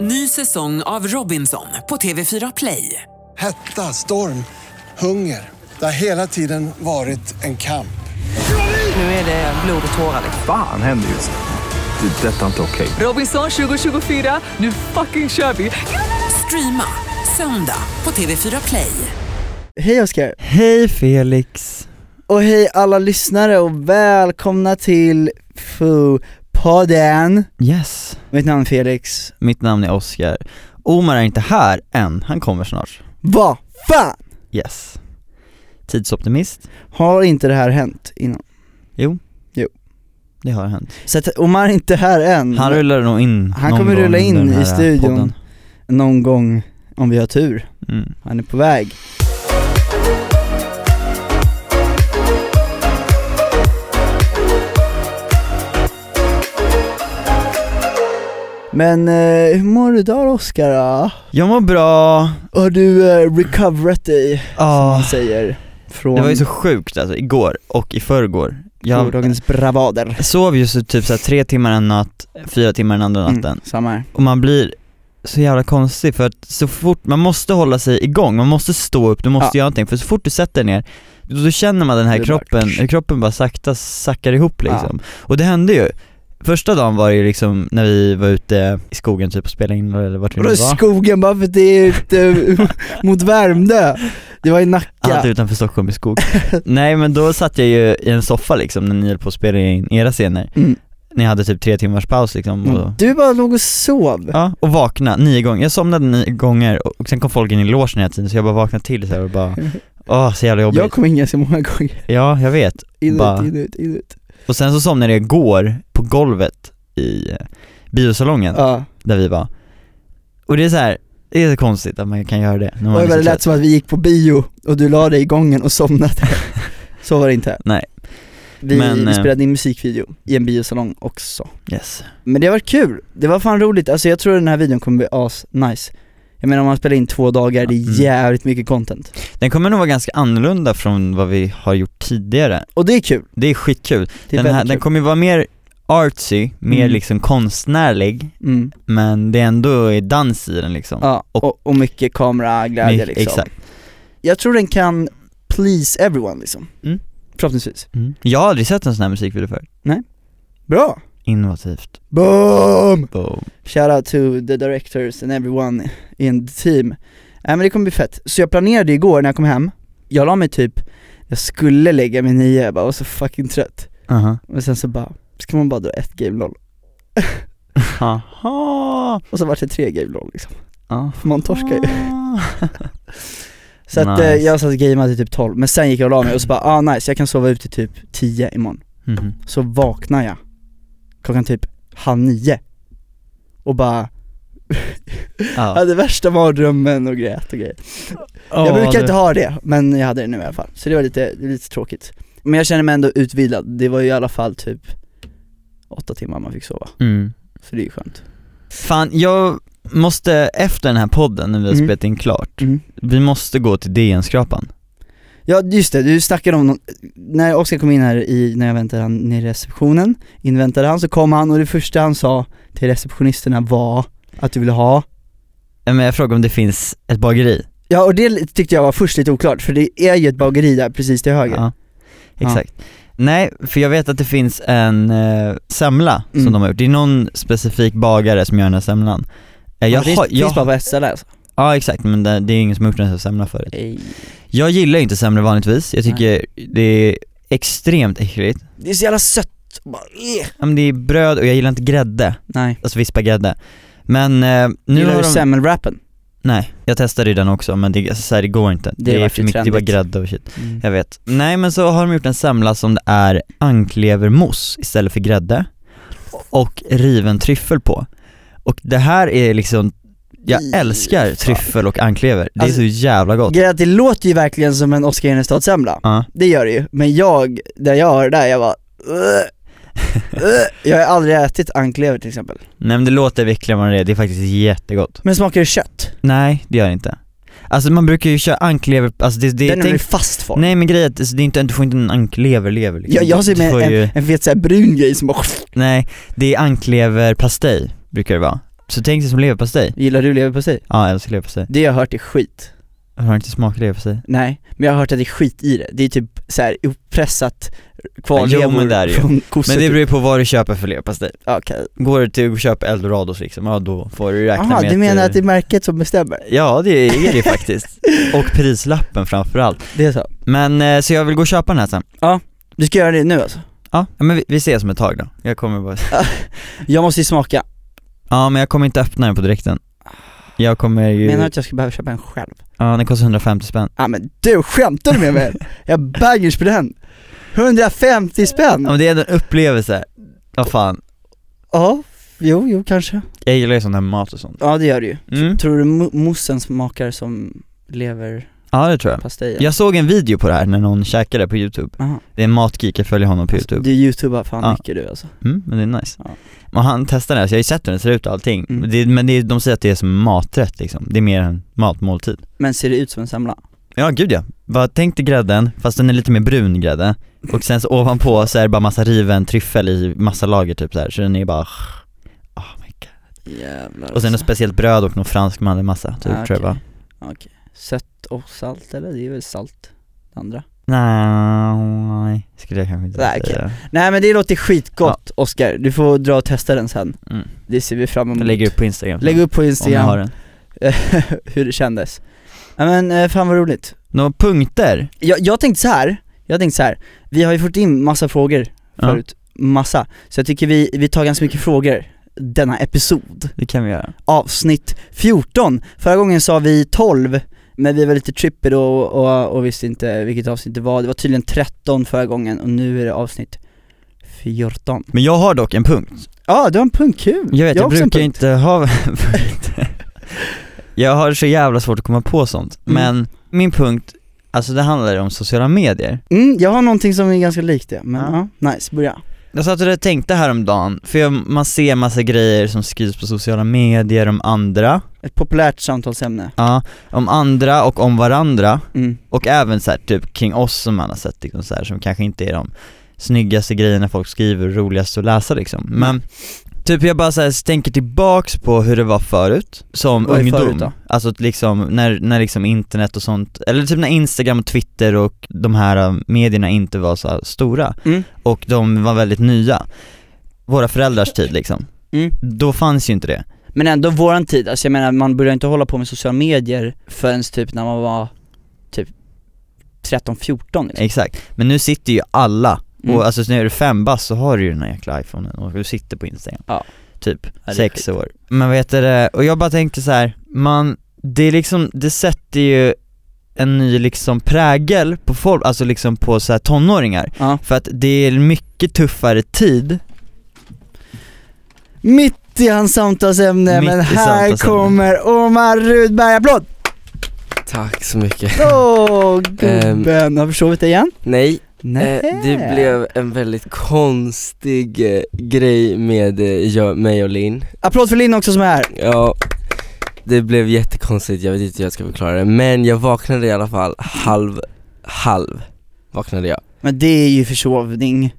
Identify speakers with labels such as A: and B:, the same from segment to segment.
A: Ny säsong av Robinson på TV4 Play.
B: Hetta, storm, hunger. Det har hela tiden varit en kamp.
A: Nu är det blod och tårar.
C: Fan händer just nu. Det. är Detta är inte okej.
A: Robinson 2024, nu fucking kör vi! Streama söndag på TV4 Play.
D: Hej Oskar!
E: Hej Felix!
D: Och hej alla lyssnare och välkomna till Foo-podden!
E: Yes,
D: Mitt namn är Felix.
E: mitt namn är Oscar. Omar är inte här än, han kommer snart.
D: Vad fan!
E: Yes. Tidsoptimist?
D: Har inte det här hänt innan?
E: Jo.
D: Jo.
E: Det har hänt.
D: Så att Omar är inte här än,
E: Han rullar nog in
D: Mm. Han
E: någon
D: kommer
E: gång
D: rulla in
E: under den
D: i
E: här
D: studion.
E: podden.
D: någon gång om vi har tur.
E: Mm.
D: Han är på väg. Men eh, hur mår du idag Oskar? då?
E: Jag mår bra,
D: Har du eh, recoverat dig? som
E: ah,
D: man säger från
E: det var ju så sjukt alltså, igår och i förrgår. Jag
D: gårdagens bravader.
E: sov ju så typ så här tre timmar en natt, fyra timmar den andra natten.
D: Mm, samma här.
E: och man blir så jävla konstig för att så fort, man måste hålla sig igång, man måste stå upp, du
D: Ja.
E: måste göra någonting, för så fort du sätter dig ner då, då känner man den här
D: Det är
E: kroppen,
D: bara-
E: hur kroppen bara sakta sackar ihop liksom. Och det hände ju, första dagen var det ju liksom när vi var ute i skogen typ och spelade in eller vart vi nu
D: Vadå
E: var,
D: skogen bara för att det är ute mot Värmdö? Det var i Nacka.
E: allt utanför Stockholm i skog. Nej men då satt jag ju i en soffa liksom när ni höll på att spela in era scener,
D: Mm.
E: ni hade typ tre timmars paus liksom och
D: Du bara låg och sov.
E: Ja, och vakna nio gånger. Jag somnade nio gånger och och sen kom folk in i logen hela tiden så jag bara vaknade till så här och bara Åh, så jävla jobbigt.
D: Jag kom in ganska många gånger.
E: Ja, jag vet.
D: Inut,
E: Bara-
D: inut, inut.
E: Och sen så somnade jag igår på golvet i eh, biosalongen
D: Ja.
E: där vi var. Och det är så här, det är så konstigt att man kan göra det. När man
D: Oj
E: är
D: vad
E: så
D: det lät
E: trött.
D: som att vi gick på bio och du la dig i gången och somnade. Så var det inte.
E: Nej.
D: Vi,
E: Men,
D: vi
E: eh,
D: spelade in musikvideo i en biosalong också.
E: Yes.
D: Men det har varit kul, det var fan roligt, alltså jag tror den här videon kommer bli as-nice Jag menar om man spelar in två dagar, det
E: Mm.
D: är jävligt mycket content
E: Den kommer nog vara ganska annorlunda från vad vi har gjort tidigare.
D: Och det är kul,
E: Det är skitkul.
D: det är
E: den, här,
D: väldigt
E: den
D: kul
E: kommer ju vara mer artsy, mer
D: Mm.
E: liksom konstnärlig,
D: mm.
E: men det är ändå dans i den liksom.
D: Ja,
E: Och-
D: och, och mycket kameraglädje
E: Mycket-
D: liksom
E: Exakt.
D: Jag tror den kan please everyone liksom
E: Mm.
D: Förhoppningsvis
E: Mm. Jag har aldrig sett en sån här musikvideo förut.
D: Bra!
E: Innovativt.
D: Boom!
E: Boom.
D: Shout out to the directors and everyone in the team Nej men det kommer bli fett, så jag planerade igår när jag kom hem Jag la mig typ, jag skulle lägga mig nio, jag bara var så fucking trött
E: Aha.
D: Men sen så bara, ska man bara dra ett game noll
E: Aha.
D: Och så vart det tre game noll liksom,
E: Ja.
D: för man torskar ju
E: Ah.
D: Så att eh,
E: Nice.
D: jag satt och gameade till typ 12, men sen gick jag och la mig och så bara ah nice, jag kan sova ute typ 10 imorgon
E: Mhm.
D: Så vaknar jag klockan typ halv nio och bara, jag
E: Ja.
D: hade värsta mardrömmen och grät och grejer
E: Ah,
D: Jag brukar inte ha det, men jag hade det nu i alla fall, så det var lite, det var lite tråkigt Men jag känner mig ändå utvilad, det var ju i alla fall typ åtta timmar man fick sova,
E: Mm.
D: så det är ju skönt
E: Fan, jag måste, efter den här podden när vi har
D: Mm.
E: spelat in klart,
D: Mm.
E: vi måste gå till DN-skrapan.
D: Ja just det, du snackade om någon, när Oskar kom in här i, när jag väntade han nere i receptionen, inväntade han, så kom han och det första han sa till receptionisterna var att du ville ha
E: Ja, Men jag frågade om det finns ett bageri.
D: Ja och det tyckte jag var först lite oklart, för det är ju ett bageri där precis till höger
E: Ja. Exakt. Nej, för jag vet att det finns en eh, semla
D: Mm.
E: som de har gjort. Det är någon specifik bagare som gör den här semlan.
D: Ja,
E: Eh, jag
D: det
E: har-
D: finns
E: jag-
D: bara på ett ställe alltså
E: Ja exakt, men det, det är ingen som har gjort en sån här semla förut.
D: Eh.
E: Jag gillar ju inte semlor vanligtvis, jag tycker det är extremt äckligt.
D: Det är så jävla sött, bara, eh.
E: Ja, men Det är bröd och jag gillar inte grädde,
D: Nej,
E: alltså vispad gädde. Men eh, nu
D: gillar
E: har
D: du
E: de...
D: semmelwrappen?
E: Nej, jag testade ju den också men det, alltså, så här, det går inte.
D: Det
E: Det,
D: var
E: är
D: ju
E: för mycket, det är bara
D: trendigt.
E: grädde och shit. Jag vet. Nej men så har de gjort en semla som det är anklevermos istället för grädde och riven tryffel på. Och det här är liksom,
D: Fy
E: jag älskar
D: fan.
E: tryffel och anklever, det är
D: Alltså,
E: så jävla gott.
D: Grejen är att det låter ju verkligen som en Oskar Enestad-semla,
E: Ja.
D: det gör det ju, men jag, där jag har det där, jag bara eh, eh. Jag har aldrig ätit anklever till exempel
E: Nej men det låter äckligare än vad det är, det är faktiskt jättegott.
D: Men smakar det kött?
E: Nej, det gör det inte. Alltså man brukar ju köra anklever, alltså det, det
D: Den är väl i
E: tänk,
D: fast form?
E: Nej men grejen är att alltså, det är inte, du får inte en ankleverlever liksom.
D: jag, jag ser
E: Du får
D: med
E: ju,
D: en, en fet såhär brun grej som bara
E: Nej, det är ankleverpastej brukar det vara. Så tänk dig som leverpastej.
D: Gillar du leverpastej?
E: Ja, jag älskar leverpastej.
D: Det jag har hört är skit.
E: Jag har inte smakat leverpastej.
D: Nej, men jag har hört att det är skit i det. Det är typ så här uppressat kvarlevor
E: Jo, men det är det ju.
D: från kossor.
E: Men det
D: typ.
E: beror ju på vad du köper för leverpastej.
D: Okej.
E: Går du till och köper eldorados liksom, ja då får du räkna
D: Jaha,
E: med
D: du menar
E: eh,
D: att det är märket som bestämmer?
E: Ja, det är det faktiskt. Och prislappen framförallt.
D: Det är så.
E: Men, eh, så jag vill gå och köpa den här sen.
D: Du ska göra det nu alltså?
E: Ja, men vi, vi ses om ett tag då. Jag kommer bara...
D: Jag måste ju smaka.
E: Ja, men jag kommer inte öppna den på direkten. Jag kommer ju...
D: Menar du att jag ska behöva köpa en själv?
E: Ja, den kostar 150 spänn.
D: Ja men du, skämtar du med mig? Jag banger på den! 150
E: Ja,
D: spänn!
E: men det är ändå en upplevelse. Vad fan.
D: Ja, jo, jo kanske.
E: Jag gillar ju sån här mat och sånt.
D: Ja det gör du ju.
E: Mm.
D: Tror du mo- moussen smakar som leverpastejen?
E: Ja, det tror jag. Jag såg en video på det här när någon käkade på youtube.
D: Aha.
E: Det är en matgeek, jag följer honom på youtube.
D: Du youtubar fan
E: typ- Ja.
D: mycket du alltså.
E: Mm, men det är nice.
D: Ja.
E: Och han testar den här, så jag har ju sett hur den ser ut och allting.
D: Mm.
E: Det, men det, är- de säger att det är som en maträtt liksom. Det är mer en matmåltid.
D: Men ser det ut som en semla?
E: Ja gud ja, bara tänk dig grädden, fast den är lite mer brun grädde och sen så ovanpå så är det bara massa riven tryffel i massa lager typ så här. så den är bara oh my god.
D: Jävlar
E: Och sen något
D: alltså.
E: speciellt bröd och någon fransk mandelmassa typ
D: Ah,
E: tror jag
D: okej.
E: bara
D: Okej. Sött och salt eller? Det är väl salt, det andra?
E: Nej, skulle jag kanske inte
D: Nej, okej.
E: säga
D: Nej men det låter skitgott Oscar, du får dra och testa den sen.
E: mm.
D: Det ser vi fram emot.
E: Jag lägger upp på instagram
D: Lägg upp på
E: om jag
D: Instagram
E: har den
D: hur det kändes. Ja men eh, fan vad roligt.
E: Några punkter?
D: jag, jag tänkte så här. jag tänkte så här. vi har ju fått in massa frågor
E: Ja.
D: förut, massa. Så jag tycker vi, vi tar ganska mycket frågor denna episod.
E: Det kan vi göra
D: Avsnitt 14, förra gången sa vi 12, men vi var lite trippy då och, och, och visste inte vilket avsnitt det var. Det var tydligen 13 förra gången och nu är det avsnitt 14.
E: Men jag har dock en punkt
D: Ja, du har en punkt, kul!
E: Jag vet,
D: har
E: jag,
D: också en
E: brukar
D: punkt.
E: inte ha punkter Jag har så jävla svårt att komma på sånt,
D: Mm.
E: men min punkt, alltså det handlar om sociala medier
D: Mm, jag har någonting som är ganska likt det, men ja,
E: Ja.
D: nice, börja.
E: Jag satt och tänkte häromdagen, för jag, man ser massa grejer som skrivs på sociala medier om andra,
D: Ett populärt samtalsämne.
E: ja, om andra och om varandra,
D: Mm.
E: och även så här, typ kring oss som man har sett liksom, så här, som kanske inte är de snyggaste grejerna folk skriver, roligast att läsa liksom.
D: Mm.
E: Men typ jag bara så här, tänker tillbaks på hur det var förut, som
D: Vad är
E: ungdom.
D: förut då?
E: Alltså att liksom, när, när liksom internet och sånt, eller typ när instagram och twitter och de här äh, medierna inte var så här stora
D: Mm.
E: och de var väldigt nya. Våra föräldrars tid liksom.
D: Mm.
E: Då fanns ju inte det.
D: Men ändå våran tid, alltså jag menar man började inte hålla på med sociala medier förrän typ när man var typ 13-14 liksom.
E: Exakt. Men nu sitter ju alla,
D: Mm.
E: och alltså när du är fem bast så har du ju den här jäkla iPhonen och du sitter på Instagram.
D: Ja.
E: Typ,
D: det är
E: sex
D: skit.
E: år. Men vet du det, och jag bara tänkte så här, man, det är liksom, det sätter ju en ny liksom prägel på folk, alltså liksom på så här tonåringar.
D: Ja.
E: För att det är en mycket tuffare tid
D: Mitt i hans samtalsämne,
E: Mitt
D: men
E: i
D: här
E: samtalsämne.
D: kommer Omar Rudberg, applåd!
F: Tack så mycket.
D: Åh gubben, har du försovit dig igen?
F: Nej,
D: Nej.
F: eh, det blev en väldigt konstig eh, grej med eh, jag, mig och Linn.
D: Applåd för Linn också som är här.
F: Ja, det blev jättekonstigt, jag vet inte hur jag ska förklara det. Men jag vaknade i alla fall halv, halv vaknade jag.
D: Men det är ju försovning.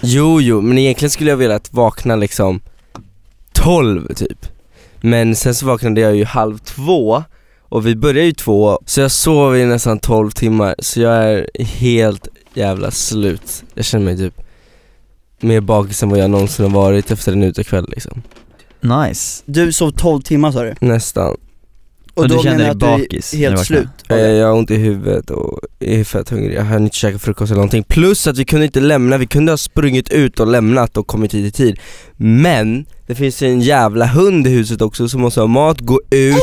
F: Jo, jo, men egentligen skulle jag velat vakna liksom 12 typ. Men sen så vaknade jag ju halv två och vi började ju två, så jag sov i nästan 12 timmar. Så jag är helt jävla slut. Jag känner mig typ mer bakis än vad jag någonsin har varit efter en utekväll liksom.
E: Nice.
D: Du sov 12 timmar sa du?
F: Nästan.
E: Och du
D: menar
E: kände dig
D: jag att du
E: bakis
D: är
E: när du
D: helt
E: vaknade?
D: slut?
F: Eh, Jag har ont i huvudet och är fett hungrig. Jag hann inte käka frukost eller någonting. Plus att vi kunde inte lämna, vi kunde ha sprungit ut och lämnat och kommit hit i tid. Men det finns ju en jävla hund i huset också som måste ha mat, gå ut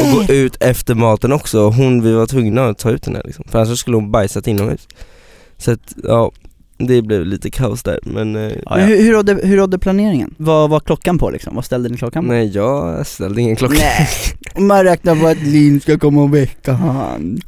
F: och gå ut efter maten också. Hon, vi var tvungna att ta ut henne liksom. För annars skulle hon bajsat inomhus. Så att, ja, det blev lite kaos där men eh,
E: Ja,
D: Men
E: ja.
D: hur, hur, rådde, hur rådde planeringen? Vad var klockan på liksom? Vad ställde ni klockan på?
F: Nej jag ställde ingen klocka.
D: Nej. Man räknar på att Linn ska komma och väcka han.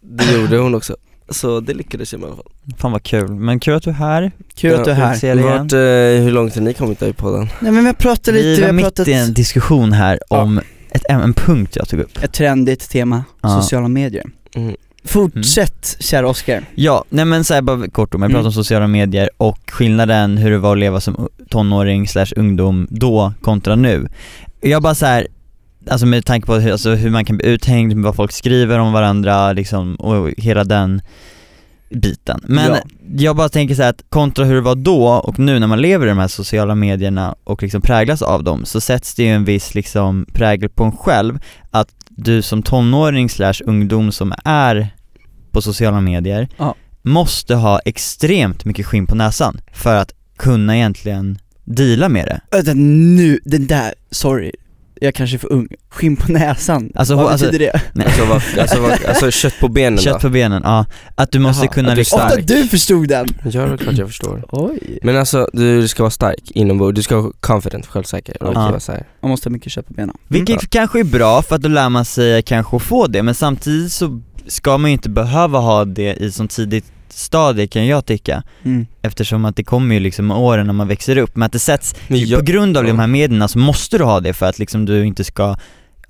F: Det gjorde hon också. Så det lyckades jag med i alla fall.
E: Fan vad kul, men kul att du är här.
D: Kul att du är
E: Ja,
D: här.
E: ser dig igen.
F: Vart, eh, hur långt har ni kommit då i podden?
D: Nej men vi har pratat lite,
E: Vi
D: vi
E: var
D: har
E: mitt
D: pratat
E: i en diskussion här
D: Ja.
E: om ett, en, en punkt jag tog upp.
D: ett trendigt tema,
E: Ja.
D: sociala medier.
F: Mm.
D: Fortsätt kära Oscar.
E: Ja, nej men såhär bara kort om, jag pratade
D: Mm.
E: om sociala medier och skillnaden hur det var att leva som u- tonåring slash ungdom då kontra nu. jag bara så här. Alltså med tanke på hur, alltså hur man kan bli uthängd, vad folk skriver om varandra liksom, och hela den biten. Men
D: Ja.
E: jag bara tänker så här att kontra hur det var då och nu när man lever i de här sociala medierna och liksom präglas av dem, så sätts det ju en viss liksom prägel på en själv att du som tonåring slash ungdom som är på sociala medier
D: Ja.
E: måste ha extremt mycket skinn på näsan för att kunna egentligen deala med det.
D: Vänta nu, den där, sorry, jag kanske är för ung. Skinn på näsan,
E: Alltså,
D: vad
E: alltså-
D: betyder det?
F: Alltså, vad, alltså, vad, alltså kött på benen
E: Kött
F: då?
E: på benen, ja. Att du måste
D: Jaha,
E: kunna
F: att du är
E: liksom...
D: Ofta
F: stark.
D: du förstod den!
F: Ja det är klart jag förstår
D: Oj.
F: Men alltså du ska vara stark inombords, du ska vara confident, självsäker och
E: Ja.
F: vara så här.
D: Man måste ha mycket kött på benen.
E: Vilket
F: Ja.
E: kanske är bra för att då lär man sig kanske att få det, men samtidigt så ska man ju inte behöva ha det i sån tidigt stadie kan jag tycka.
D: Mm.
E: Eftersom att det kommer ju liksom med åren när man växer upp, men att det sätts,
F: Men
E: på
F: jag-
E: grund av
F: ja.
E: de här medierna så måste du ha det för att liksom du inte ska,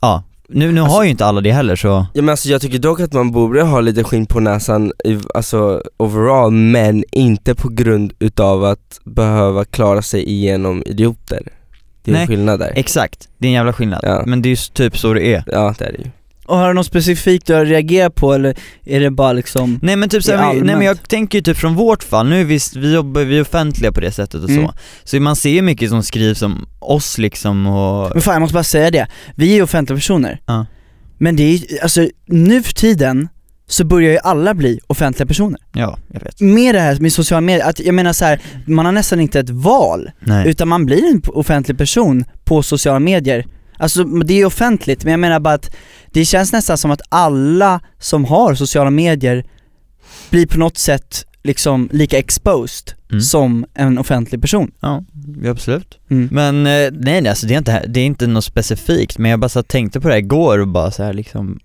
E: ja, nu, nu
F: Alltså-
E: har ju inte alla det heller så
F: Ja men alltså jag tycker dock att man borde ha lite skinn på näsan, i, alltså overall, men inte på grund utav att behöva klara sig igenom idioter Det är
E: Nej.
F: en skillnad där
E: Exakt, det är en jävla skillnad.
F: Ja.
E: Men det är ju s- typ så det är.
F: Ja det är det ju
D: Och har du något specifikt du har reagerat på eller är det bara liksom
E: Nej men typ så
D: Det är
E: här, vi- nej men
D: allmänt.
E: jag tänker ju typ från vårt fall, nu är vi, vi, jobbar, vi är offentliga på det sättet och
D: Mm.
E: så. Så man ser ju mycket som skrivs om oss liksom och,
D: Men fan jag måste bara säga det, vi är ju offentliga personer.
E: Ja.
D: Men det är ju- alltså nu för tiden så börjar ju alla bli offentliga personer.
E: ja jag vet.
D: Med det här med sociala medier, att jag menar så här, man har nästan inte ett val,
E: Nej.
D: utan man blir en p- offentlig person på sociala medier. Alltså det är offentligt, men jag menar bara att det känns nästan som att alla som har sociala medier blir på något sätt liksom lika exposed
E: Mm.
D: som en offentlig person.
E: Ja, absolut.
D: Mm.
E: Men eh, nej nej alltså det är inte, det är inte något specifikt, men jag bara så här tänkte på det här igår och bara så här liksom,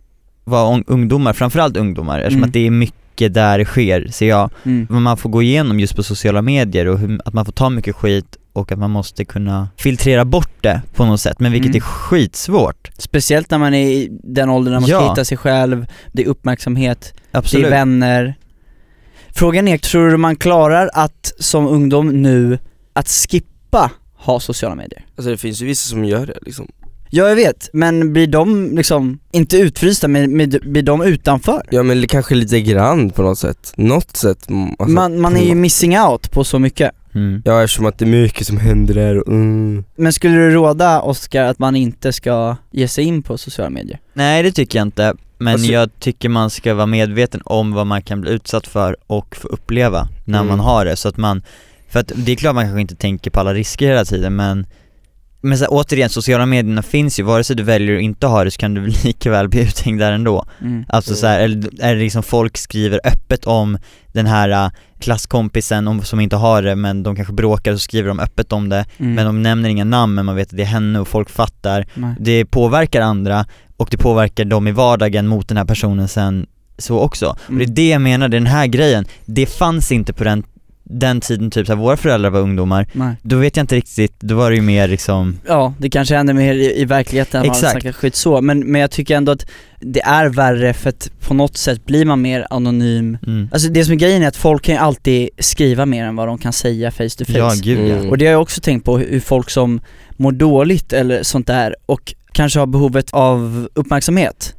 E: vad ung- ungdomar, framförallt ungdomar, eftersom
D: Mm.
E: att det är mycket där det sker ser jag.
D: Mm.
E: vad man får gå igenom just på sociala medier och hur, att man får ta mycket skit och att man måste kunna filtrera bort det på något sätt, men vilket
D: Mm.
E: är skitsvårt.
D: Speciellt när man är i den åldern när man
E: Ja.
D: ska hitta sig själv, det är uppmärksamhet,
E: Absolut.
D: det är vänner. Frågan är, tror du man klarar att som ungdom nu, att skippa ha sociala medier?
F: Alltså det finns ju vissa som gör det liksom
D: Ja jag vet, men blir de liksom, inte utfrysta, men men blir de utanför?
F: Ja men li- kanske lite grann på något sätt, något sätt mm, alltså,
D: Man, man är ju missing out på så mycket.
E: mm.
F: Ja eftersom att det är mycket som händer där och mm.
D: Men skulle du råda Oscar att man inte ska ge sig in på sociala medier?
E: Nej det tycker jag inte, men
F: Alltså-
E: jag tycker man ska vara medveten om vad man kan bli utsatt för och få uppleva när
F: Mm.
E: man har det, så att man, för att det är klart man kanske inte tänker på alla risker hela tiden men men så här, återigen, sociala medierna finns ju, vare sig du väljer att inte ha det så kan du lika väl bli uthängd där ändå. Alltså
F: Mm.
E: så här, eller, eller liksom folk skriver öppet om den här äh, klasskompisen om, som inte har det men de kanske bråkar och så skriver de öppet om det
D: Mm.
E: men de nämner inga namn men man vet att det är henne och folk fattar.
D: Nej.
E: Det påverkar andra och det påverkar dem i vardagen mot den här personen sen så också.
D: Mm.
E: Och det är det jag menar, den här grejen, det fanns inte på den, den tiden typ så här, våra föräldrar var ungdomar,
D: Nej.
E: då vet jag inte riktigt, då var det ju mer liksom,
D: Ja, det kanske händer mer i, i verkligheten än vad man
E: Exakt.
D: snackar skit så, men, men jag tycker ändå att det är värre för att på något sätt blir man mer anonym
E: mm.
D: Alltså det som är grejen är att folk kan ju alltid skriva mer än vad de kan säga face to face
E: ja gud ja.
F: Mm.
D: Och det har jag också tänkt på, hur folk som mår dåligt eller sånt där och kanske har behovet av uppmärksamhet.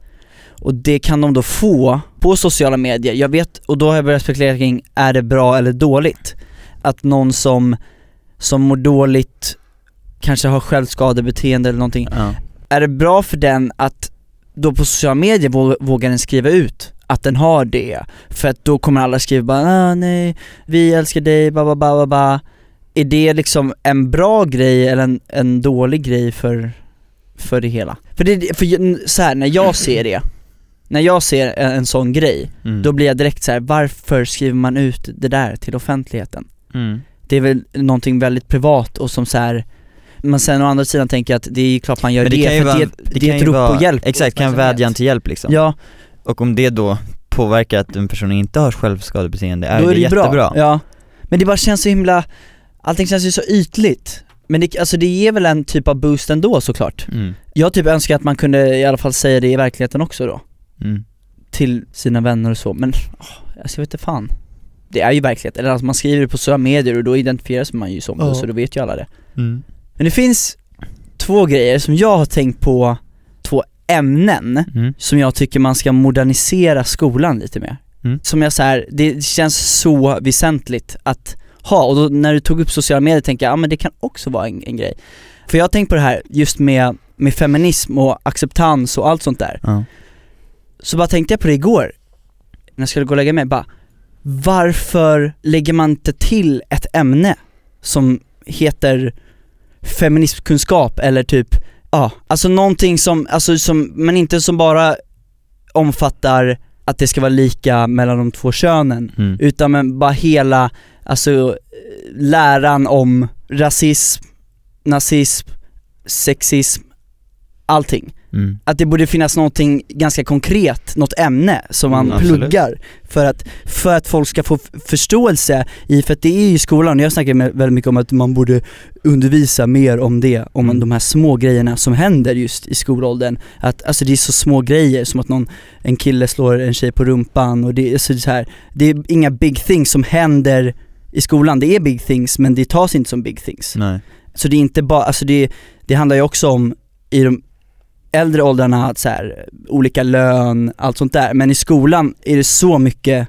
D: Och det kan de då få på sociala medier. Jag vet, och då har jag börjat spekulera kring, är det bra eller dåligt? Att någon som, som mår dåligt kanske har självskadebeteende eller någonting.
E: Ja.
D: Är det bra för den att då på sociala medier vå- vågar den skriva ut att den har det? För att då kommer alla skriva bara ah, nej, vi älskar dig, ba ba ba ba ba. Är det liksom en bra grej eller en, en dålig grej för, för det hela? För, det, för ju- så här, när jag ser det, när jag ser en, en sån grej,
E: Mm.
D: då blir jag direkt så här: varför skriver man ut det där till offentligheten?
E: Mm.
D: Det är väl någonting väldigt privat och som så här. men sen å andra sidan tänker jag att det är klart man gör
E: Men
D: det,
E: det kan ju
D: för
E: vara,
D: att det, det, är
E: kan
D: ett
E: ju
D: rop
E: vara-
D: på hjälp och
E: Exakt, kan vara en
D: uppmärksamhet.
E: vädjan till hjälp liksom.
D: Ja,
E: Och om det då påverkar att en person inte har självskadebeteende, är,
D: då är det ju
E: jättebra.
D: bra. Ja. Men det bara känns så himla, allting känns ju så ytligt. Men det, alltså det ger väl en typ av boost ändå såklart.
E: Mm.
D: Jag typ önskar att man kunde i alla fall säga det i verkligheten också då.
E: Mm.
D: Till sina vänner och så, men åh, alltså jag vet inte fan. Det är ju verklighet, eller alltså man skriver det på sociala medier och då identifieras man ju som det,
E: Ja.
D: så då vet ju alla det.
E: Mm.
D: Men det finns två grejer som jag har tänkt på, två ämnen
E: Mm.
D: som jag tycker man ska modernisera skolan lite mer.
E: Mm.
D: Som jag så här, det känns så väsentligt att ha, och då när du tog upp sociala medier tänker jag, ja men det kan också vara en, en grej. För jag har tänkt på det här just med, med feminism och acceptans och allt sånt där.
E: Ja.
D: Så bara tänkte jag på det igår, när jag skulle gå och lägga mig, bara varför lägger man inte till ett ämne som heter feminismkunskap eller typ, ja, alltså någonting som, alltså som, men inte som bara omfattar att det ska vara lika mellan de två könen,
E: Mm.
D: utan men bara hela, alltså eh, läran om rasism, nazism, sexism, allting
E: Mm.
D: att det borde finnas någonting ganska konkret, något ämne som man
E: Mm, absolut.
D: pluggar för att, för att folk ska få f- förståelse i, för att det är ju i skolan, jag snackar med, väldigt mycket om att man borde undervisa mer om det, om
E: Mm.
D: de här små grejerna som händer just i skolåldern. Att, alltså det är så små grejer som att någon, en kille slår en tjej på rumpan och det är så så här, det är inga big things som händer i skolan, det är big things men det tas inte som big things.
E: Nej.
D: Så det är inte bara, alltså det, det handlar ju också om i de äldre åldrarna att så här, olika lön, allt sånt där. Men i skolan är det så mycket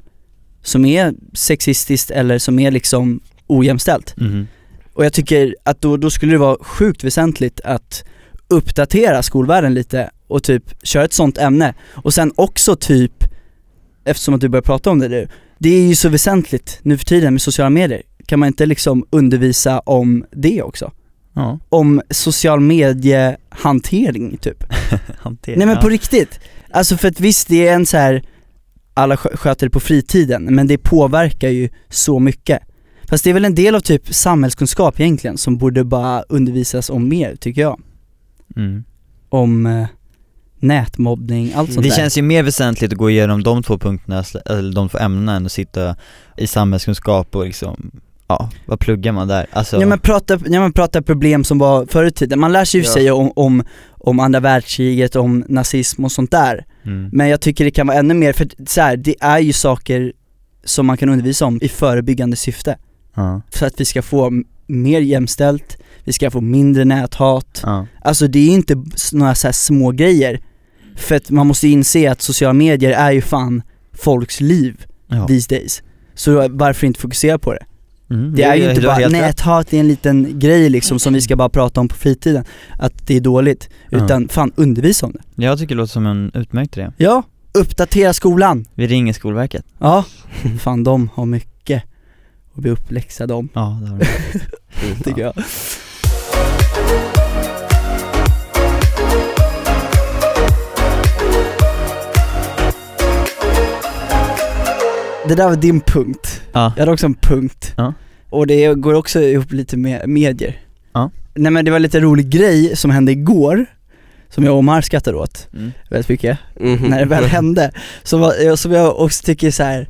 D: som är sexistiskt eller som är liksom ojämställt.
E: Mhm.
D: Och jag tycker att då, då skulle det vara sjukt väsentligt att uppdatera skolvärlden lite och typ köra ett sånt ämne. Och sen också typ, eftersom att du börjar prata om det nu, det är ju så väsentligt nu för tiden med sociala medier. Kan man inte liksom undervisa om det också?
E: Ja.
D: om social mediehantering typ.
E: Hantera.
D: Nej men på riktigt. Alltså för att visst det är en så här alla skö- sköter det på fritiden, men det påverkar ju så mycket. Fast det är väl en del av typ samhällskunskap egentligen som borde bara undervisas om mer tycker jag.
E: mm.
D: Om eh, nätmobbning, allt sånt
E: Det
D: där.
E: känns ju mer väsentligt att gå igenom de två punkterna, sl- eller de två ämnena än att sitta i samhällskunskap och liksom, ja, vad pluggar man där? Alltså,
D: Ja men prata, ja, men prata problem som var förr i tiden. Man lär sig ju
F: Ja.
D: sig om, om, om andra världskriget, om nazism och sånt där.
E: mm.
D: Men jag tycker det kan vara ännu mer, för så här, det är ju saker som man kan undervisa om i förebyggande syfte.
E: ja,
D: För att vi ska få m- mer jämställt, vi ska få mindre näthat.
E: ja,
D: Alltså det är inte b- s- några så här små grejer För att man måste inse att sociala medier är ju fan folks liv
E: ja.
D: these days. Så varför inte fokusera på det?
E: Mm,
D: Det är ju
E: du-
D: inte
E: du har
D: bara
E: helt rätt.
D: näthat är en liten grej liksom som vi ska bara prata om på fritiden, att det är dåligt.
E: Ja.
D: Utan fan undervisa om det.
E: Jag tycker det låter som en utmärkt idé.
D: Ja, uppdatera skolan!
E: Vi ringer Skolverket.
D: Ja, fan de har mycket att bli uppläxade om
E: Ja, det har du.
D: tycker jag Det där var din punkt,
E: Ja.
D: jag hade också en punkt
E: Ja.
D: och det går också ihop lite med medier
E: Ja.
D: Nej men det var en lite rolig grej som hände igår, som jag och Omar skrattade åt
E: Mm.
D: väldigt mycket
F: Mhm.
D: när det väl hände, som, var, som jag också tycker så här.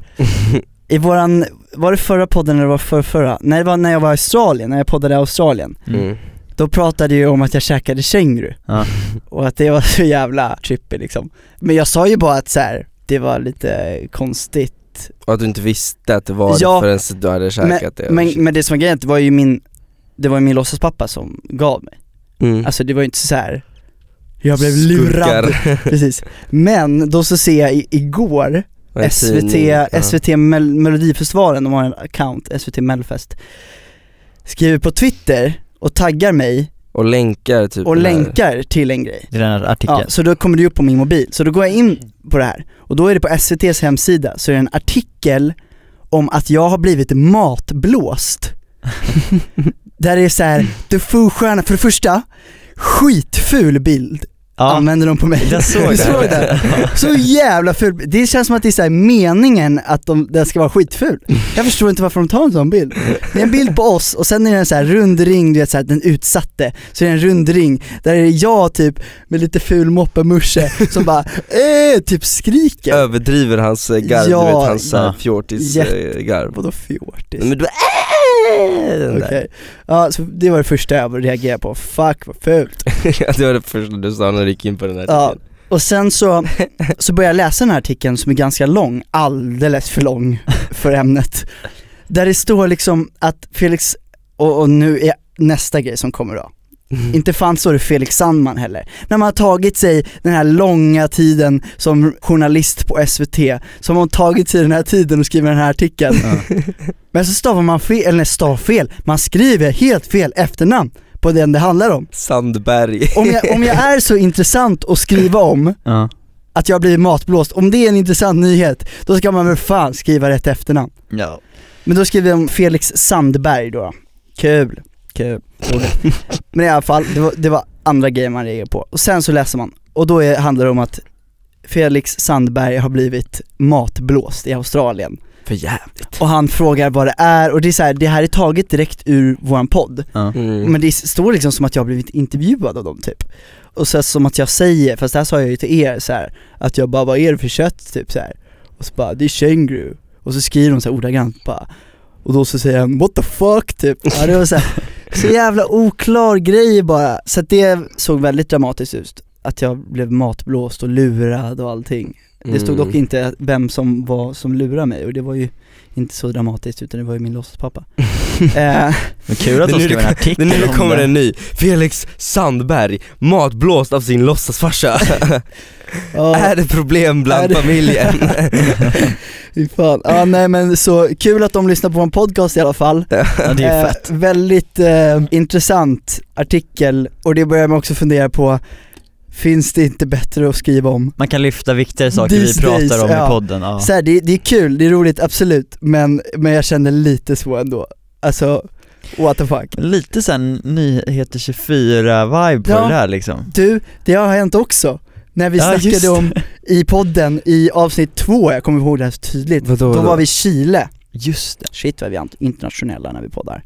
D: I våran, var det förra podden eller var det förra, förra? Nej det var när jag var i Australien, när jag poddade i Australien
F: Mm.
D: Då pratade jag ju om att jag käkade känguru
E: Ja.
D: och att det var så jävla trippy liksom Men jag sa ju bara att så här, det var lite konstigt
F: Och att du inte visste att det var
D: Ja,
F: det förrän du hade käkat det
D: men, men det som var grejen, det var ju min, det var ju min låtsaspappa som gav mig
F: mm.
D: Alltså det var ju inte så här. jag blev lurad
F: Skurkar.
D: Precis, men då så ser jag i, igår
F: Och en
D: SVT,
F: tidning. Ja.
D: SVT Mel- Melodifestivalen, de har en account, SVT Melfest Skriver på Twitter och taggar mig
F: Och länkar typ
D: och
F: den här-
D: länkar till en grej
E: Det är den här artikeln.
D: ja, Så då kommer det upp på min mobil, så då går jag in på det här och då är det på SVTs hemsida så är det en artikel om att jag har blivit matblåst Där det är så här, du stjärna för det första, skitful bild
E: Ja.
D: använder de på mig
E: Jag såg
D: Du
E: det.
D: såg den. Så jävla ful. Det känns som att det är så här meningen att de, den ska vara skitful. Jag förstår inte varför de tar en sån bild. Det är en bild på oss och sen är det en så här rund ring, du vet så här, den utsatte. Så är det en rund ring, där är det jag typ med lite ful moppemusche som bara eh, typ skriker.
F: Överdriver hans eh, garv,
D: Ja,
F: du vet hans
E: ja.
F: ja. fjortisgarv
D: Vadå fjortis?
F: Men du äh, den
D: Okej,
F: där.
D: ja, så det var det första jag reagerade på, fuck vad fult.
F: det var det första du sa när du gick in på den här
D: Ja.
F: tiden.
D: Och sen så, så började jag läsa den här artikeln som är ganska lång, alldeles för lång för ämnet. Där det står liksom att Felix, och, och nu är nästa grej som kommer då, Inte fan så det Felix Sandman heller. När man har tagit sig den här långa tiden som journalist på SVT, som har man tagit sig den här tiden och skriver den här artikeln. Men så stavar man fel, eller nej, stav fel, man skriver helt fel efternamn på den det handlar om.
F: Sandberg.
D: Om jag, om jag är så intressant att skriva om
E: Ja.
D: att jag blir matblåst, om det är en intressant nyhet, då ska man väl fan skriva rätt efternamn.
E: ja.
D: Men då skriver de Felix Sandberg då. Kul, kul. Roligt. Men i alla fall, det var, det var andra grejer man reagerade på. Och sen så läser man, och då är, handlar det om att Felix Sandberg har blivit matblåst i Australien.
F: För jävligt.
D: Och han frågar vad det är, och det är så här, det här är taget direkt ur våran podd.
F: Mm.
D: Men det står liksom som att jag har blivit intervjuad av dem typ. Och så som att jag säger, fast det här sa jag ju till er så här, att jag bara vad är det för kött typ så här. Och så bara det är känguru. Och så skriver de så här ordagrant bara. Och då så säger han what the fuck typ. Ja, det var så, här, så jävla oklar grej bara. Så att det såg väldigt dramatiskt ut. Att jag blev matblåst och lurad och allting. Det stod
F: Mm.
D: dock inte vem som var som lurade mig och det var ju inte så dramatiskt utan det var ju min låtsaspappa. eh,
E: Men kul att
F: Det är
E: de
F: nu
E: skrev
F: det
E: en
F: kom-
E: artikel
F: Men nu
E: om
F: kommer
E: det.
F: en ny. Felix Sandberg, matblåst av sin låtsasfarsa.
D: ja.
F: Är det problem
D: Är
F: bland
D: det-
F: familjen?
D: Fy fan. Ja nej men så kul att de lyssnar på en podcast i alla fall.
E: Ja, det är ju fett.
D: Eh, väldigt eh, intressant artikel och det börjar man också fundera på, finns det inte bättre att skriva om?
E: Man kan lyfta viktigare saker
D: These
E: vi pratar
D: days,
E: om
D: ja.
E: i podden. Ja.
D: Så här, det, det är kul, det är roligt absolut, men, men jag känner lite så ändå. Alltså, what the fuck.
E: Lite sen nyheter 24-vibe på
D: Ja.
E: det där liksom.
D: Du, det har hänt också. När vi
E: Ja, just
D: snackade
E: det.
D: om i podden i avsnitt två, jag kommer ihåg det här så tydligt,
F: Vadå
D: då
F: då?
D: var vi i Chile.
E: Just det.
D: Shit vad vi är internationella när vi poddar.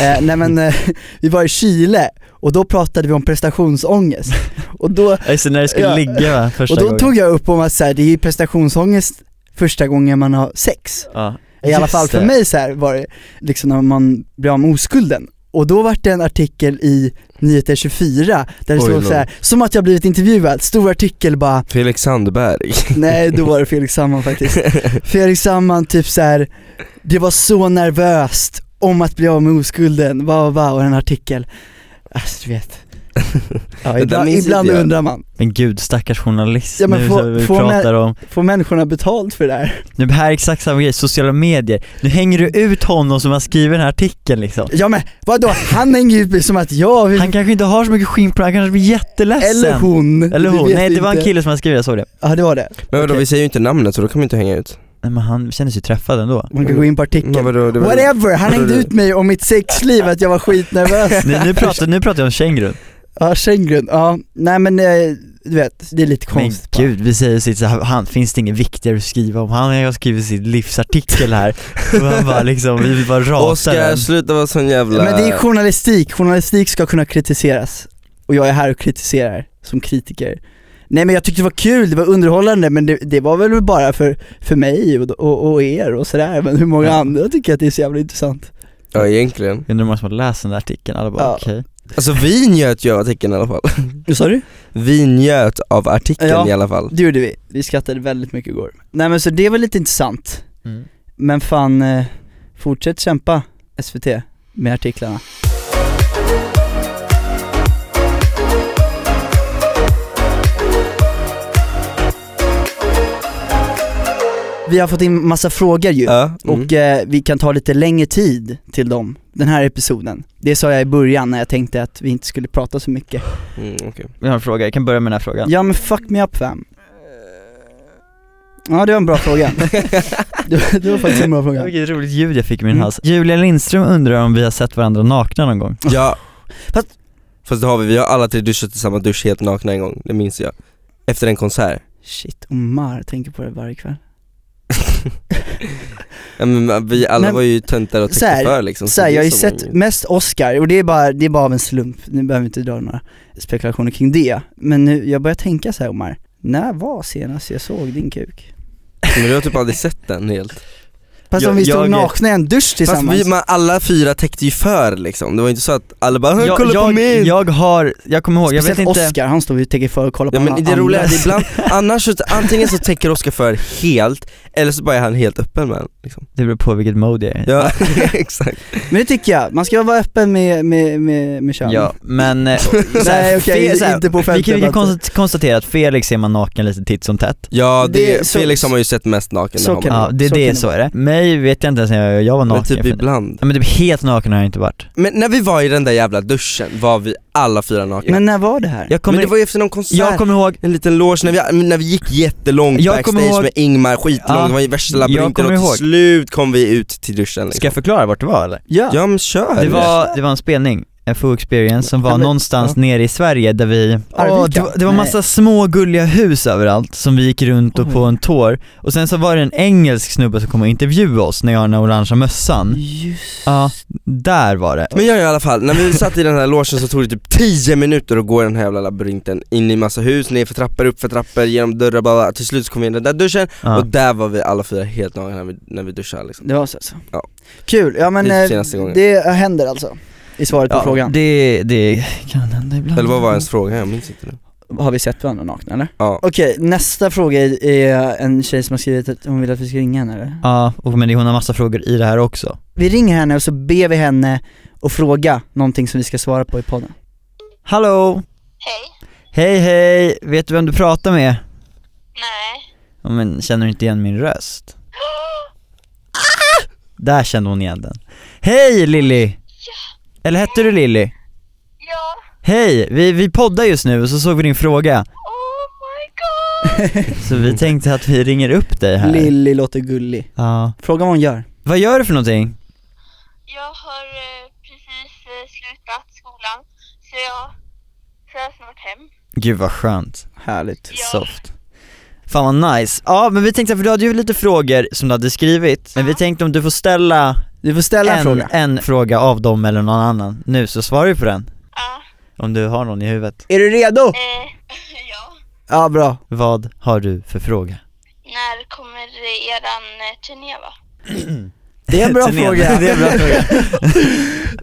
D: Eh, nej men eh, vi var i Chile och då pratade vi om prestationsångest. Och då,
E: Ja, just det, när det skulle
D: Ja.
E: ligga va, första
D: och då
E: gången.
D: tog jag upp om att så här, det är ju prestationsångest första gången man har sex.
E: ja.
D: I alla
E: Just
D: fall för
E: det.
D: mig så här var det liksom när man blir av med oskulden. Och då var det en artikel i Nyheter 24 där det
F: Oj,
D: stod
F: lol.
D: så här, som att jag blivit intervjuad, stor artikel bara
F: Felix Sandberg.
D: Nej, då var det Felix Sandman faktiskt. Felix Sandman typ så här. det var så nervöst om att bli av med oskulden, va va, va och en artikel. Alltså du vet. Ja,
F: där
D: ibland
F: minns
D: ibland
F: inte jag.
D: undrar man,
E: Men gud stackars journalist
D: Ja, men
E: nu
D: få-
E: som vi
D: få med-
E: pratar om.
D: får människorna betalt för det här?
E: Nu här är exakt samma grej, sociala medier. Nu hänger du ut honom som har skrivit den här artikeln liksom.
D: Ja men vadå, han hänger ju ut som att jag vill,
E: Han kanske inte har så mycket skinn på det, han kanske blir jätteledsen.
D: eller hon.
E: Eller
D: vi
E: hon.
D: vet
E: Nej det var en
D: inte.
E: kille som hade skrivit, jag såg det.
D: Ja det var det.
F: Men vadå,
D: Okej.
F: vi säger ju inte namnet så då kan vi inte hänga ut.
E: Nej men han kändes ju träffad ändå.
D: Man kan gå in på artikeln.
F: Men vadå, det var-
D: Whatever, han hängde ut mig om mitt sexliv, att jag var skitnervös.
E: Nu, nu, pratar, nu pratar jag om kängurun.
D: Ja, Schengen, ja. Nej men eh, du vet, det är lite
E: Men
D: konstigt. bara.
E: gud, vi säger sitt så här, han, finns det inget viktigare att skriva om? Han har skrivit sitt livsartikel här. Och han bara liksom, vi vill bara rasa
F: Oskar,
E: den.
F: sluta vara sån jävla...
D: Men det är journalistik, journalistik ska kunna kritiseras. Och jag är här och kritiserar som kritiker. Nej men jag tyckte det var kul, det var underhållande men det, det var väl bara för, för mig och, och, och er och sådär men hur många
E: Ja.
D: andra tycker att det är så jävla intressant?
F: Ja egentligen.
E: Undrar hur många som har läst den där artikeln, alla bara
D: Ja.
E: okej.
F: Alltså vi njöt ju av artikeln i alla fall.
D: Vad sa du?
F: Vi njöt av artikeln
D: Ja.
F: i alla fall.
D: Det gjorde vi, vi skrattade väldigt mycket igår. Nej men så det var lite intressant,
E: Mm.
D: men fan eh, fortsätt kämpa SVT med artiklarna. Vi har fått in massa frågor ju.
F: Ja. Mm.
D: Och eh, vi kan ta lite längre tid till dem, den här episoden. Det sa jag i början när jag tänkte att vi inte skulle prata så mycket.
F: Mm, okej.
E: Jag har en fråga, jag kan börja med den här frågan.
D: Ja men fuck me up fam. Ja det var en bra fråga. det, det var faktiskt en bra fråga.
E: Vilket roligt ljud jag fick i min
D: Mm.
E: hals. Julia Lindström undrar om vi har sett varandra nakna någon gång.
F: Ja.
D: Fast-
F: Fast det har vi, vi har alla tre duschat i samma dusch helt nakna en gång, det minns jag. Efter en konsert.
D: Shit, Omar tänker på det varje kväll.
F: Ja, men vi alla
D: Men-
F: var ju töntar och
D: Så
F: täckte
D: här-
F: för liksom.
D: Så här,
F: det
D: jag har ju
F: såg
D: sett
F: man
D: mest Oscar och det är, bara, det är bara av en slump, nu behöver vi inte dra några spekulationer kring det. Men nu, jag börjar tänka så här Omar, när var senast jag såg din kuk?
F: Men du har typ aldrig sett den helt.
D: Fast om
E: Jag-
D: vi stod
E: jag-
D: nakna i en dusch
F: Fast
D: tillsammans.
F: vi, man, alla fyra täckte ju för liksom, det var inte så att alla bara "Hör,
E: Jag,
F: kolla på
E: jag,
F: mig'
E: jag har, jag kommer ihåg, jag vet
D: Speciellt
E: inte
D: Oscar, han stod ju och täcker för och kollade på
F: Ja men
D: alla
F: det roliga är att
D: andra.
F: ibland, annars så, antingen så täcker Oskar för helt, eller så bara är han helt öppen med en, liksom.
E: Det beror på vilket mode jag är i.
F: Ja, exakt.
D: Men det tycker jag, man ska vara öppen med, med, med, med kön.
E: Ja, men eh, såhär,
D: Nej, okej,
E: fe- såhär,
D: inte på
E: vi
D: offentliga
E: kan, vi kan
D: platser.
E: konst- konstatera att Felix ser man naken lite titt som tätt
F: Ja,
D: Det-
F: det,
D: så-
F: Felix har man ju sett mest naken
D: så
F: av
D: kan
F: honom.
E: Ja, det är
D: så kan
E: det,
D: det
E: så är det Mig vet jag inte ens när jag, jag var
F: Men
E: naken
F: typ
E: för-
F: ibland.
E: Ja men typ helt naken har jag inte varit
F: Men när vi var i den där jävla duschen var vi alla fyra nakna. Men,
D: Men när var det här?
E: Jag kommer,
F: det var ju efter någon konsert,
E: jag kommer ihåg
F: en liten loge, när vi, när vi gick jättelångt
E: Jag kommer
F: backstage
E: ihåg-
F: med Ingmar, skitlångt,
E: Ja,
F: det var ju värsta
E: jag
F: labyrinten
E: kommer
F: och till
E: ihåg.
F: slut kom vi ut till duschen liksom.
E: Ska jag förklara vart det var eller?
D: Ja.
F: Ja men kör!
E: Det var, det var en spelning, en Foo Experience som var
D: Ja, men-
E: någonstans nere i Sverige där vi,
D: Arvika?
E: Åh, det, var- det var
D: Nej.
E: massa små gulliga hus överallt som vi gick runt och
D: Oj.
E: på en tår Och sen så var det en engelsk snubbe som kom och intervjuade oss när jag har den här orangea mössan
D: Just
E: Ja, där var det
F: Men jag i alla fall, när vi satt i den här logen så tog det typ 10 minuter att gå i den här jävla labyrinten In i massa hus, ner för trappor, upp för trappor, genom dörrar, bla bla. Till slut så kom vi in i den där duschen
E: Ja.
F: och där var vi alla fyra helt nakna när vi, när vi duschade liksom.
D: Det var så alltså.
F: Ja.
D: Kul, ja men
F: Det är
D: eh,
F: senaste gången.
D: det händer alltså? I svaret på
E: ja,
D: frågan.
E: det, det kan hända ibland
F: Eller vad var ens fråga? Jag minns inte nu
D: Har vi sett varandra nakna eller?
F: Ja,
D: Okej, nästa fråga är- är en tjej som har skrivit att hon vill att vi ska ringa henne eller?
E: Ja, och men det- hon har massa frågor i det här också
D: Vi ringer henne och så ber vi henne att fråga någonting som vi ska svara på i podden.
E: Hallå!
G: Hej.
E: Hej hej! Vet du vem du pratar med?
G: Nej.
E: Ja, men känner du inte igen min röst? Där kände hon igen den. Hej Lilly! Eller hette du Lilly?
G: Ja.
E: Hej! Vi, vi poddar just nu och så såg vi din fråga.
G: Oh my god.
E: Så vi tänkte att vi ringer upp dig här.
D: Lilly låter gullig.
E: Ja.
D: Fråga vad hon gör.
E: Vad gör du för någonting?
G: Jag har eh, precis eh, slutat skolan. Så jag, så jag är snart hem.
E: Gud vad skönt.
D: Härligt.
G: Ja.
E: Soft. Fan vad nice. Ja men vi tänkte, för du hade ju lite frågor som du hade skrivit. Men vi tänkte om du får ställa
D: Du får ställa en,
E: en,
D: fråga.
E: en fråga av dem eller någon annan nu så svarar du på den.
G: Ja.
E: Om du har någon i huvudet.
D: Är du redo?
G: Eh, ja.
D: Ja, bra.
E: Vad har du för fråga?
G: När kommer eran eh, turné va?
D: Det är en bra
E: Turnén.
D: fråga.
E: det är en bra fråga.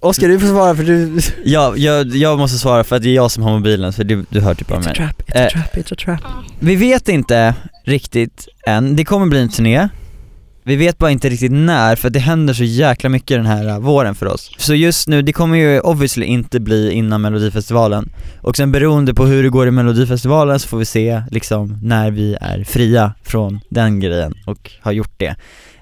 D: Oskar du får svara för du...
E: Ja, jag, jag måste svara för att det är jag som har mobilen så du, du hör typ av mig.
D: trap,
E: a Eh.
D: trap, it's a trap.
G: Mm.
E: Vi vet inte riktigt än, det kommer bli en turné. Vi vet bara inte riktigt när för att det händer så jäkla mycket den här äh, våren för oss. Så just nu, det kommer ju obviously inte bli innan melodifestivalen. Och sen beroende på hur det går i melodifestivalen så får vi se liksom när vi är fria från den grejen och har gjort det.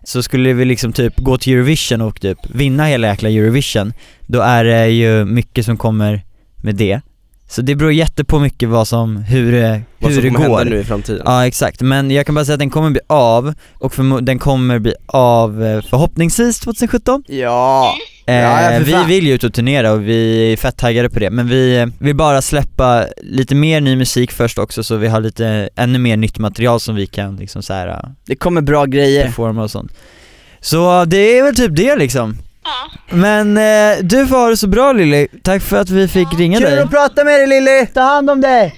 E: Så skulle vi liksom typ gå till Eurovision och typ vinna hela jäkla Eurovision, då är det ju mycket som kommer med det. Så det beror jättepå mycket vad som, hur det,
F: vad
E: hur
F: som
E: det
F: kommer hända
E: går.
F: nu i framtiden
E: Ja exakt, men jag kan bara säga att den kommer bli av och förmo- den kommer bli av eh, förhoppningsvis 2017
D: Ja.
E: eh,
D: Ja, ja, för
E: Vi
D: fan.
E: vill ju ut och turnera och vi är fett taggade på det men vi eh, vill bara släppa lite mer ny musik först också så vi har lite ännu mer nytt material som vi kan liksom så här eh,
D: Det kommer bra grejer.
E: performa och sånt Så det är väl typ det liksom
G: Ja.
E: Men eh, du får ha det så bra Lilly, tack för att vi fick ringa dig
D: prata med dig Lilly! Ta hand om dig!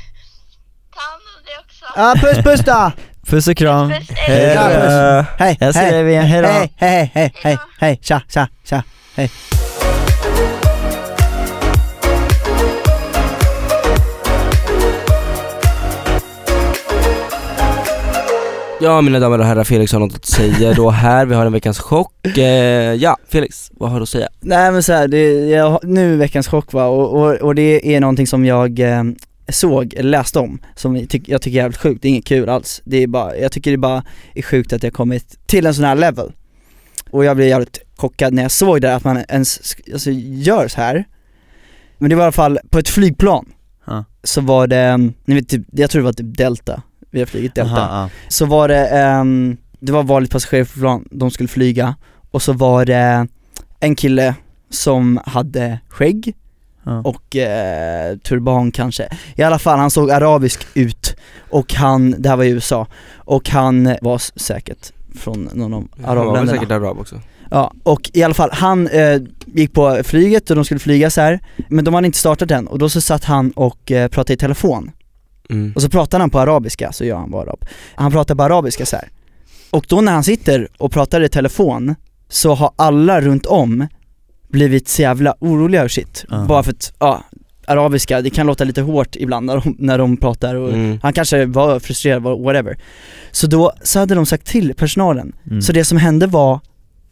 G: Ta hand om dig också.
D: Ja, puss puss då!
E: Puss och kram
G: Puss, hej.
E: då.
D: Ja, Hej,
E: Jag ser dig igen, hejdå
D: hej, hej, hej, hej, hej, tja, tja, tja, hej.
F: Ja mina damer och herrar, Felix har något att säga då här, vi har en veckans chock eh, Ja, Felix, vad har du att säga?
D: Nej men så här, det, jag, nu är veckans chock va, och, och, och det är någonting som jag eh, såg, eller läste om, som jag, tyck, jag tycker är jävligt sjukt, det är inget kul alls. Det är bara, jag tycker det bara är sjukt att jag kommit till en sån här level. Och jag blev jävligt chockad när jag såg det, att man ens sk- alltså, gör så här. Men det var i alla fall på ett flygplan,
E: Ja.
D: så var det, mm, ni vet, typ, jag tror det var typ Delta, vi har flugit Delta
E: Aha,
D: så var det, ehm, det var vanligt passagerarflygplan, de skulle flyga och så var det en kille som hade skägg
E: ja.
D: och eh, turban kanske. I alla fall, han såg arabisk ut och han, det här var i USA, och han var s- säkert från någon av
F: var väl
D: arabländerna.
F: säkert arab också
D: Ja, och i alla fall, han eh, gick på flyget och de skulle flyga så här men de hade inte startat än och då så satt han och eh, pratade i telefon
F: mm.
D: och så pratar han på arabiska, så gör han bara arab. Han pratar på arabiska så här. Och då när han sitter och pratar i telefon så har alla runt om blivit så jävla oroliga och shit.
E: Aha.
D: Bara för att, ja, arabiska, det kan låta lite hårt ibland när de, när de pratar och
F: Mm.
D: han kanske var frustrerad, var- whatever. Så då, så hade de sagt till personalen.
E: Mm.
D: Så det som hände var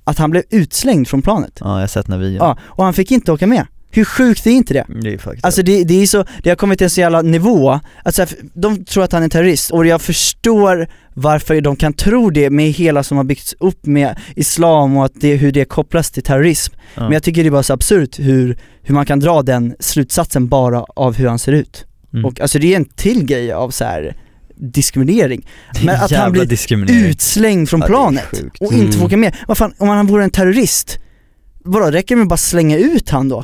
D: att han blev utslängd från planet.
E: Ja, jag har sett den här videon.
D: Ja, och han fick inte åka med. Hur sjukt är inte det?
E: Det är faktiskt
D: Alltså det, det är så, det har kommit till en så jävla nivå, att så här, de tror att han är terrorist och jag förstår varför de kan tro det med hela som har byggts upp med islam och att det, hur det kopplas till terrorism.
E: Ja.
D: Men jag tycker det är bara så absurt hur, hur man kan dra den slutsatsen bara av hur han ser ut.
E: Mm.
D: Och alltså det är en till grej av så här diskriminering.
E: Det är
D: men att han
E: jävla
D: blir
E: diskriminering.
D: Utslängd från
E: Ja, det är
D: planet
E: sjukt.
D: och inte
F: Mm.
D: få åka med. Vad fan, om han vore en terrorist, vadå räcker det med att bara slänga ut han då?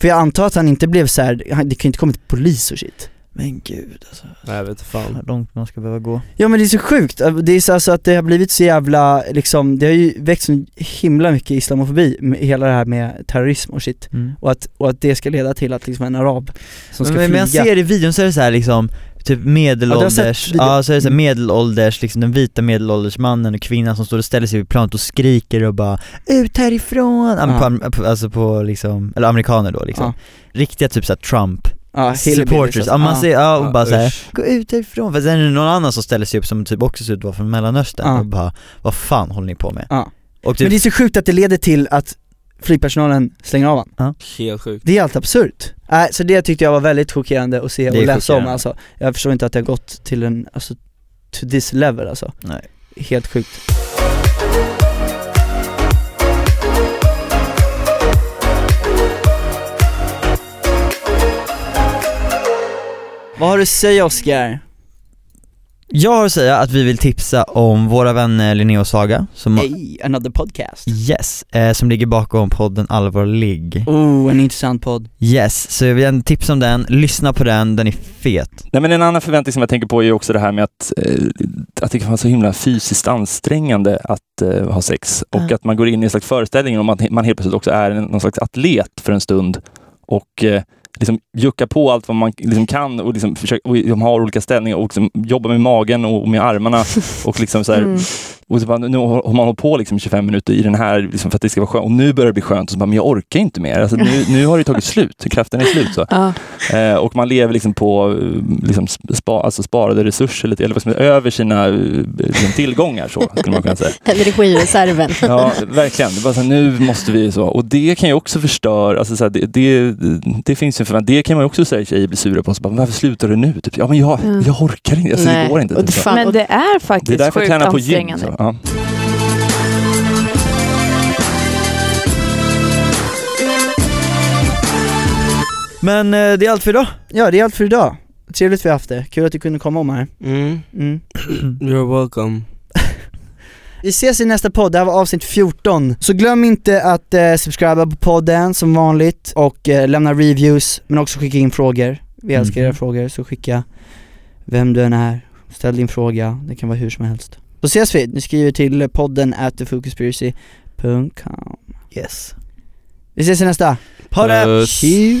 D: För jag antar att han inte blev så här, han- det kan ju inte komma till polis och shit.
E: Men gud alltså,
F: Nej jag vet fan.
E: hur långt man ska behöva gå.
D: Ja men det är så sjukt, det är så alltså att det har blivit så jävla, liksom, det har ju växt så himla mycket islamofobi, med hela det här med terrorism och shit. Och att, och att det ska leda till att liksom en arab som ska
E: Mm. men, men
D: flyga.
E: jag ser i videon så är det så här liksom, typ
D: Ja, du har
E: medelålders,
D: sett videon.
E: ja, så är det så här
D: Mm.
E: medelålders, liksom den vita medelålders mannen och kvinnan som står och ställer sig vid planet och skriker och bara 'Ut härifrån!' Ja. men På, am- på- alltså på liksom, eller amerikaner då liksom.
D: Ja.
E: Riktiga typ såhär Trump
D: ja, hillbillies,
E: supporters,
D: alltså.
E: ja man ser, ja och
F: Ja,
E: bara såhär
F: usch.
E: 'Gå ut härifrån' för sen är det någon annan som ställer sig upp som typ också ser ut att vara från mellanöstern
D: Ja.
E: och bara 'Vad fan håller ni på med?'
D: Ja.
E: Och typ,
D: Men det är så sjukt att det leder till att flygpersonalen slänger av han.
F: Helt sjukt.
D: Det är helt absurt. Äh, så det tyckte jag var väldigt chockerande att se
E: Det
D: och
E: är
D: läsa om
E: chockerande.
D: alltså. Jag förstår inte att det har gått till en, alltså to this level alltså.
E: Nej.
D: Helt sjukt. Vad har du att säga Oscar?
E: jag har att säga att vi vill tipsa om våra vänner Linnea och Saga som
D: Hey, another podcast.
E: Yes, eh, som ligger bakom podden Allvarlig.
D: Oh, en intressant podd.
E: Yes, så jag vill gärna tipsa om den, lyssna på den, den är fet.
H: Nej, men en annan förväntning som jag tänker på är ju också det här med att, eh, att det kan vara så himla fysiskt ansträngande att eh, ha sex. Och
E: Ja.
H: att man går in i en slags föreställning om att man helt plötsligt också är en, någon slags atlet för en stund. Och eh, liksom jucka på allt vad man liksom kan och, liksom försöka, och liksom ha olika ställningar och liksom jobba med magen och med armarna. Och liksom så här,
I: Mm.
H: och så bara, nu har har man hållit på liksom 25 minuter i den här liksom för att det ska vara skönt. Och nu börjar det bli skönt. Och så bara, men jag orkar inte mer. Alltså, nu, nu har det tagit slut. Kraften är slut. Så.
I: Ja.
H: Eh, och man lever liksom på eh, liksom spa, alltså sparade resurser, lite, eller vad som är över sina eh, liksom tillgångar, så skulle man kunna säga.
I: Energireserven.
H: Ja, verkligen. Det är bara så här, nu måste vi så. Och det kan ju också förstöra, alltså, så här, det, det, det finns ju en förväntan. Det kan man ju också säga tjejer blir sura på. Så bara, varför slutar du nu? Typ, ja, men jag,
I: Mm.
H: jag orkar inte. Alltså, det
I: Nej,
H: går inte.
I: och
H: Typ, så.
I: fan,
J: Men
I: och-
J: det är faktiskt
H: Det är därför jag
J: sjukt
H: tränar på gym.
J: ansträngande.
H: Så, ja.
E: Men eh, det är allt för idag.
D: Ja, det är allt för idag. Trevligt vi har haft det. Kul att du kunde komma om här.
F: Mm.
D: Mm.
F: You're welcome.
D: Vi ses i nästa podd, det här var avsnitt 14. Så glöm inte att eh, subscriba på podden som vanligt och eh, lämna reviews, men också skicka in frågor. Vi älskar
E: Mhm.
D: era frågor, så skicka vem du än är, ställ din fråga, det kan vara hur som helst. Då ses vi, ni skriver till podden at thefocuspiracy.com
E: Yes.
D: Vi ses i nästa!
E: Ha det!
D: Tju.